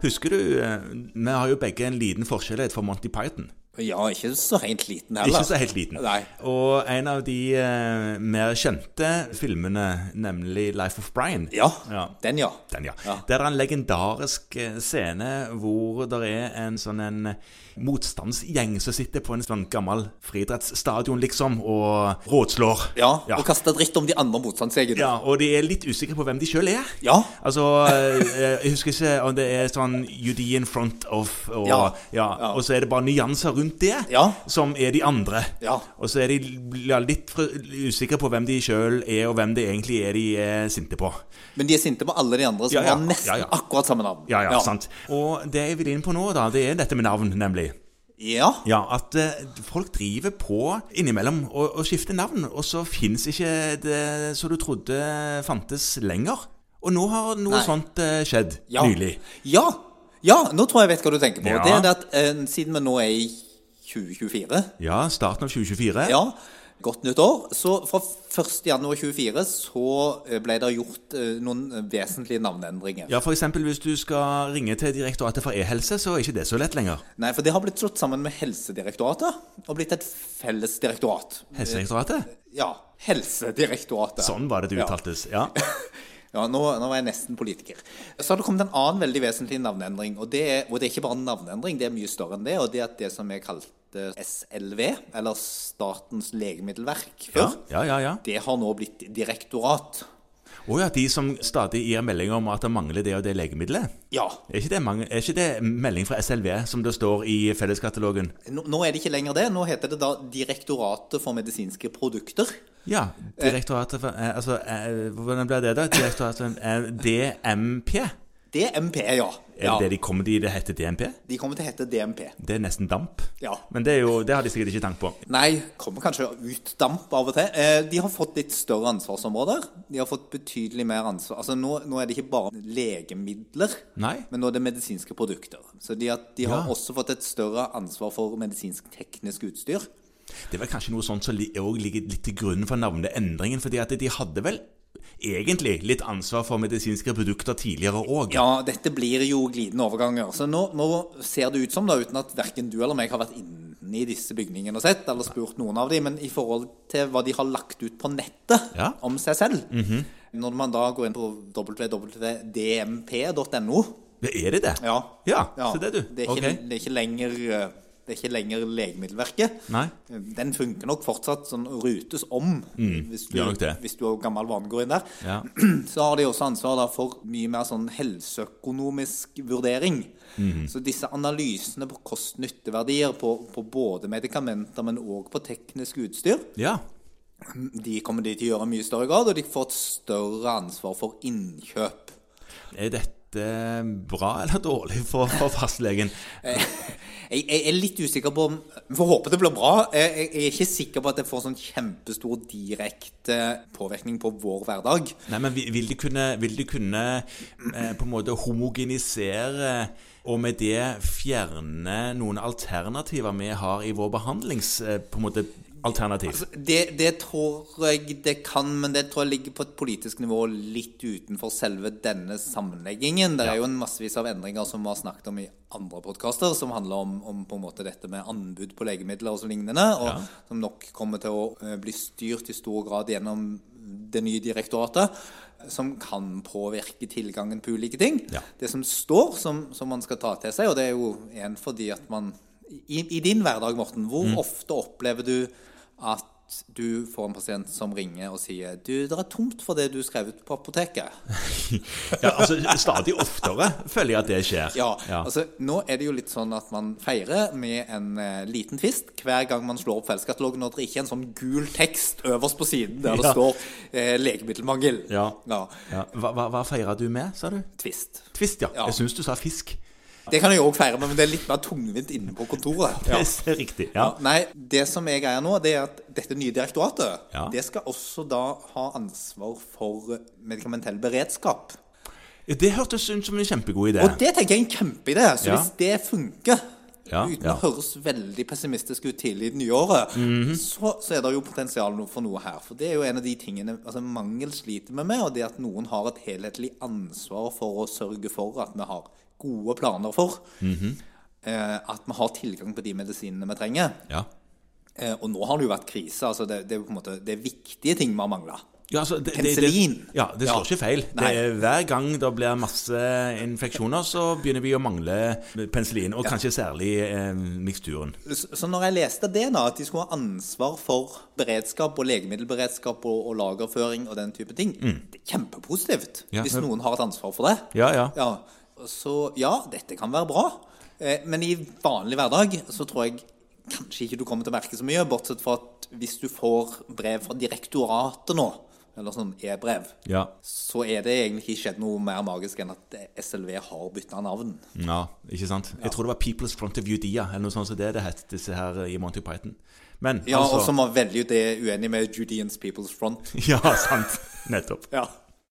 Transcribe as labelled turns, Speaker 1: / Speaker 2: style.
Speaker 1: Husker du, eh, vi har jo begge en liten forskjellighet for Monty Python.
Speaker 2: Ja, ikke så helt liten heller.
Speaker 1: Ikke så helt liten.
Speaker 2: Nei.
Speaker 1: Og en av de eh, mer kjente filmene, nemlig 'Life of Brian'.
Speaker 2: Ja,
Speaker 1: Ja.
Speaker 2: den ja.
Speaker 1: Den, ja.
Speaker 2: Ja.
Speaker 1: Det er en legendarisk eh, scene hvor det er en sånn en motstandsgjeng som sitter på en sånn gammel friidrettsstadion, liksom, og rådslår.
Speaker 2: Ja,
Speaker 1: ja.
Speaker 2: og kaste dritt om de andre motstandsjegene.
Speaker 1: Ja, og de er litt usikre på hvem de sjøl er.
Speaker 2: Ja.
Speaker 1: Altså, eh, jeg husker ikke om det er sånn Judean front of og, ja.
Speaker 2: Ja. Ja.
Speaker 1: og så er det bare nyanser rundt det
Speaker 2: Ja.
Speaker 1: som er de andre.
Speaker 2: Ja.
Speaker 1: Og så er de ja, litt fr- usikre på hvem de sjøl er, og hvem det egentlig er de er sinte på.
Speaker 2: Men de er sinte på alle de andre som
Speaker 1: Ja, ja.
Speaker 2: har nesten
Speaker 1: Ja, ja.
Speaker 2: akkurat samme navn.
Speaker 1: Ja, ja, sant. Og det jeg vil inn på nå, da, det er dette med navn, nemlig.
Speaker 2: Ja,
Speaker 1: Ja, At eh, folk driver på innimellom og, og skifter navn, og så fins ikke det som du trodde fantes lenger. Og nå har noe
Speaker 2: Nei.
Speaker 1: sånt eh, skjedd
Speaker 2: ja.
Speaker 1: nylig.
Speaker 2: Ja. ja, nå tror jeg jeg vet hva du tenker på.
Speaker 1: Ja.
Speaker 2: Det er det at eh, siden vi nå er i 2024
Speaker 1: Ja, starten av 2024.
Speaker 2: Ja, godt nytt år. Så fra 1. januar 24 så eh, ble det gjort eh, noen vesentlige navneendringer.
Speaker 1: Ja, for eksempel hvis du skal ringe til Direktoratet for e-helse, så er ikke det så lett lenger.
Speaker 2: Nei, for det har blitt slått sammen med Helsedirektoratet og blitt et felles direktorat.
Speaker 1: Helsedirektoratet?
Speaker 2: Ja, Helsedirektoratet.
Speaker 1: Sånn var det det
Speaker 2: Ja.
Speaker 1: uttaltes. Ja.
Speaker 2: Ja, nå, nå var jeg nesten politiker. Så har det kommet en annen veldig vesentlig navneendring. Og det, er, og det er ikke bare en navneendring, det er mye større enn det. Og det er at det som er kalt eh, SLV, eller Statens legemiddelverk
Speaker 1: Ja,
Speaker 2: før,
Speaker 1: ja, ja. ja.
Speaker 2: det har nå blitt direktorat.
Speaker 1: Å ja, de som stadig gir meldinger om at det mangler det og det legemiddelet.
Speaker 2: Ja.
Speaker 1: Er ikke, det mange, er ikke det melding fra SLV som det står i felleskatalogen?
Speaker 2: Nå, nå er det ikke lenger det. Nå heter det da Direktoratet for medisinske produkter.
Speaker 1: Ja. Direktoratet for eh, Altså, eh, hvordan blir det, da? Direktoratet for eh, DMP?
Speaker 2: DMP, ja.
Speaker 1: Er
Speaker 2: ja.
Speaker 1: det det de kommer til? Det heter DMP?
Speaker 2: De kommer til å hete DMP.
Speaker 1: Det er nesten damp.
Speaker 2: Ja.
Speaker 1: Men det, er jo, det har de sikkert ikke tanke på.
Speaker 2: Nei, kommer kanskje ut damp av og til. Eh, de har fått litt større ansvarsområder. De har fått betydelig mer ansvar. Altså Nå, nå er det ikke bare legemidler,
Speaker 1: Nei.
Speaker 2: men nå er det medisinske produkter. Så de, at de
Speaker 1: Ja.
Speaker 2: har også fått et større ansvar for medisinsk-teknisk utstyr.
Speaker 1: Det er vel kanskje noe sånt som li- også ligger litt til grunn for navneendringen, fordi at de hadde vel egentlig litt ansvar for medisinske produkter tidligere òg.
Speaker 2: Ja, dette blir jo glidende overganger. Så nå, nå ser det ut som, da, uten at verken du eller meg har vært inne i disse bygningene og sett, eller spurt noen av dem, men i forhold til hva de har lagt ut på nettet
Speaker 1: Ja. Mhm.
Speaker 2: om seg selv Når man da går inn på www.dmp.no
Speaker 1: Er det det?
Speaker 2: Ja.
Speaker 1: Ja,
Speaker 2: Ja,
Speaker 1: se det, du.
Speaker 2: Det er, ikke,
Speaker 1: Ok.
Speaker 2: det, er ikke lenger, eh, det er ikke lenger Legemiddelverket.
Speaker 1: Nei.
Speaker 2: Den funker nok fortsatt sånn rutes om, hvis, du,
Speaker 1: gjør nok Mm, det.
Speaker 2: hvis du har gammel vane går inn der.
Speaker 1: Ja.
Speaker 2: Så har de også ansvar da, for mye mer sånn helseøkonomisk vurdering. Så disse analysene på kost-nytteverdier på, på både medikamenter, men òg på teknisk utstyr,
Speaker 1: ja.
Speaker 2: de kommer de til å gjøre i mye større grad, og de får et større ansvar for innkjøp.
Speaker 1: Er dette bra eller dårlig for, for fastlegen?
Speaker 2: Jeg, jeg er litt usikker på om Vi får håpe det blir bra. Jeg, jeg, jeg er ikke sikker på at det får sånn kjempestor direkte påvirkning på vår hverdag.
Speaker 1: Nei, men vil vil de kunne, vil de kunne eh, på en måte homogenisere og med det fjerne noen alternativer vi har i vår behandlings... eh, på en måte alternativ?
Speaker 2: Altså, Det, det tror jeg det kan, men det tror jeg ligger på et politisk nivå litt utenfor selve denne sammenleggingen. Det er jo en massevis av endringer som vi har snakket om i andre podkaster, som handler om, om på en måte dette med anbud på legemidler og så lignende, og
Speaker 1: Ja.
Speaker 2: som nok kommer til å eh, bli styrt i stor grad gjennom det nye direktoratet. Som kan påvirke tilgangen på ulike ting.
Speaker 1: Ja.
Speaker 2: Det som står, som, som man skal ta til seg, og det er jo en fordi at man I, i din hverdag, Morten, hvor
Speaker 1: Mm.
Speaker 2: ofte opplever du at du får en pasient som ringer og sier Du, det er tomt for det du skrev ut på apoteket.
Speaker 1: Ja, altså, stadig oftere føler jeg at det skjer.
Speaker 2: Ja, altså Nå er det jo litt sånn at man feirer med en eh, liten twist hver gang man slår opp felleskatalogen, og det er ikke en sånn gul tekst øverst på siden der
Speaker 1: Ja.
Speaker 2: det står eh, 'legemiddelmangel'.
Speaker 1: Ja. Ja. Hva, hva, hva feira du med, sa du?
Speaker 2: Twist.
Speaker 1: Twist, ja.
Speaker 2: Ja.
Speaker 1: Jeg syns du sa fisk.
Speaker 2: Det kan jeg òg feire med, men det er litt mer tungvint inne på kontoret.
Speaker 1: Det er riktig. Ja.
Speaker 2: Ja. Nei, det som er greia nå, det er at dette nye direktoratet,
Speaker 1: Ja.
Speaker 2: det skal også da ha ansvar for medikamentell beredskap.
Speaker 1: Det hørtes ut som en kjempegod idé.
Speaker 2: Og det tenker jeg er en kjempeidé. Så
Speaker 1: Ja.
Speaker 2: hvis det funker,
Speaker 1: Ja,
Speaker 2: uten
Speaker 1: ja. Mhm.
Speaker 2: å høres veldig pessimistisk ut tidlig i det nye året, så, så er det jo potensial no- for noe her. For det er jo en av de tingene altså mangel sliter vi med, og det at noen har et helhetlig ansvar for å sørge for at vi har gode planer for.
Speaker 1: Mhm.
Speaker 2: eh, At vi har tilgang på de medisinene vi trenger.
Speaker 1: Ja.
Speaker 2: Eh, Og nå har det jo vært krise. altså Det, det er jo på en måte, det er viktige ting vi har mangla.
Speaker 1: Ja, altså, det,
Speaker 2: Penicillin.
Speaker 1: Det, det, ja, det slår
Speaker 2: Ja.
Speaker 1: ikke feil. Det
Speaker 2: Nei.
Speaker 1: er, hver gang det blir masse infeksjoner, så begynner vi å mangle penicillin, og kanskje særlig eh, miksturen.
Speaker 2: Så så når jeg leste det, da, at de skulle ha ansvar for beredskap og legemiddelberedskap og, og lagerføring og den type ting, det er kjempepositivt
Speaker 1: Mm. Ja,
Speaker 2: hvis
Speaker 1: men-
Speaker 2: noen har et ansvar for det.
Speaker 1: Ja, ja.
Speaker 2: Ja, så ja, dette kan være bra. Eh, Men i vanlig hverdag så tror jeg kanskje ikke du kommer til å merke så mye, bortsett fra at hvis du får brev fra direktoratet nå, eller sånn e-brev,
Speaker 1: Ja.
Speaker 2: så er det egentlig ikke skjedd noe mer magisk enn at SLV har bytta navn.
Speaker 1: ja ikke sant? Jeg tror det var People's Front of Judea, eller noe sånt som det det het, disse her i Monty Python. Men
Speaker 2: Ja, og
Speaker 1: altså
Speaker 2: som var veldig ut- uenig med Judeans People's Front.
Speaker 1: Ja, sant. Nettopp.
Speaker 2: Ja.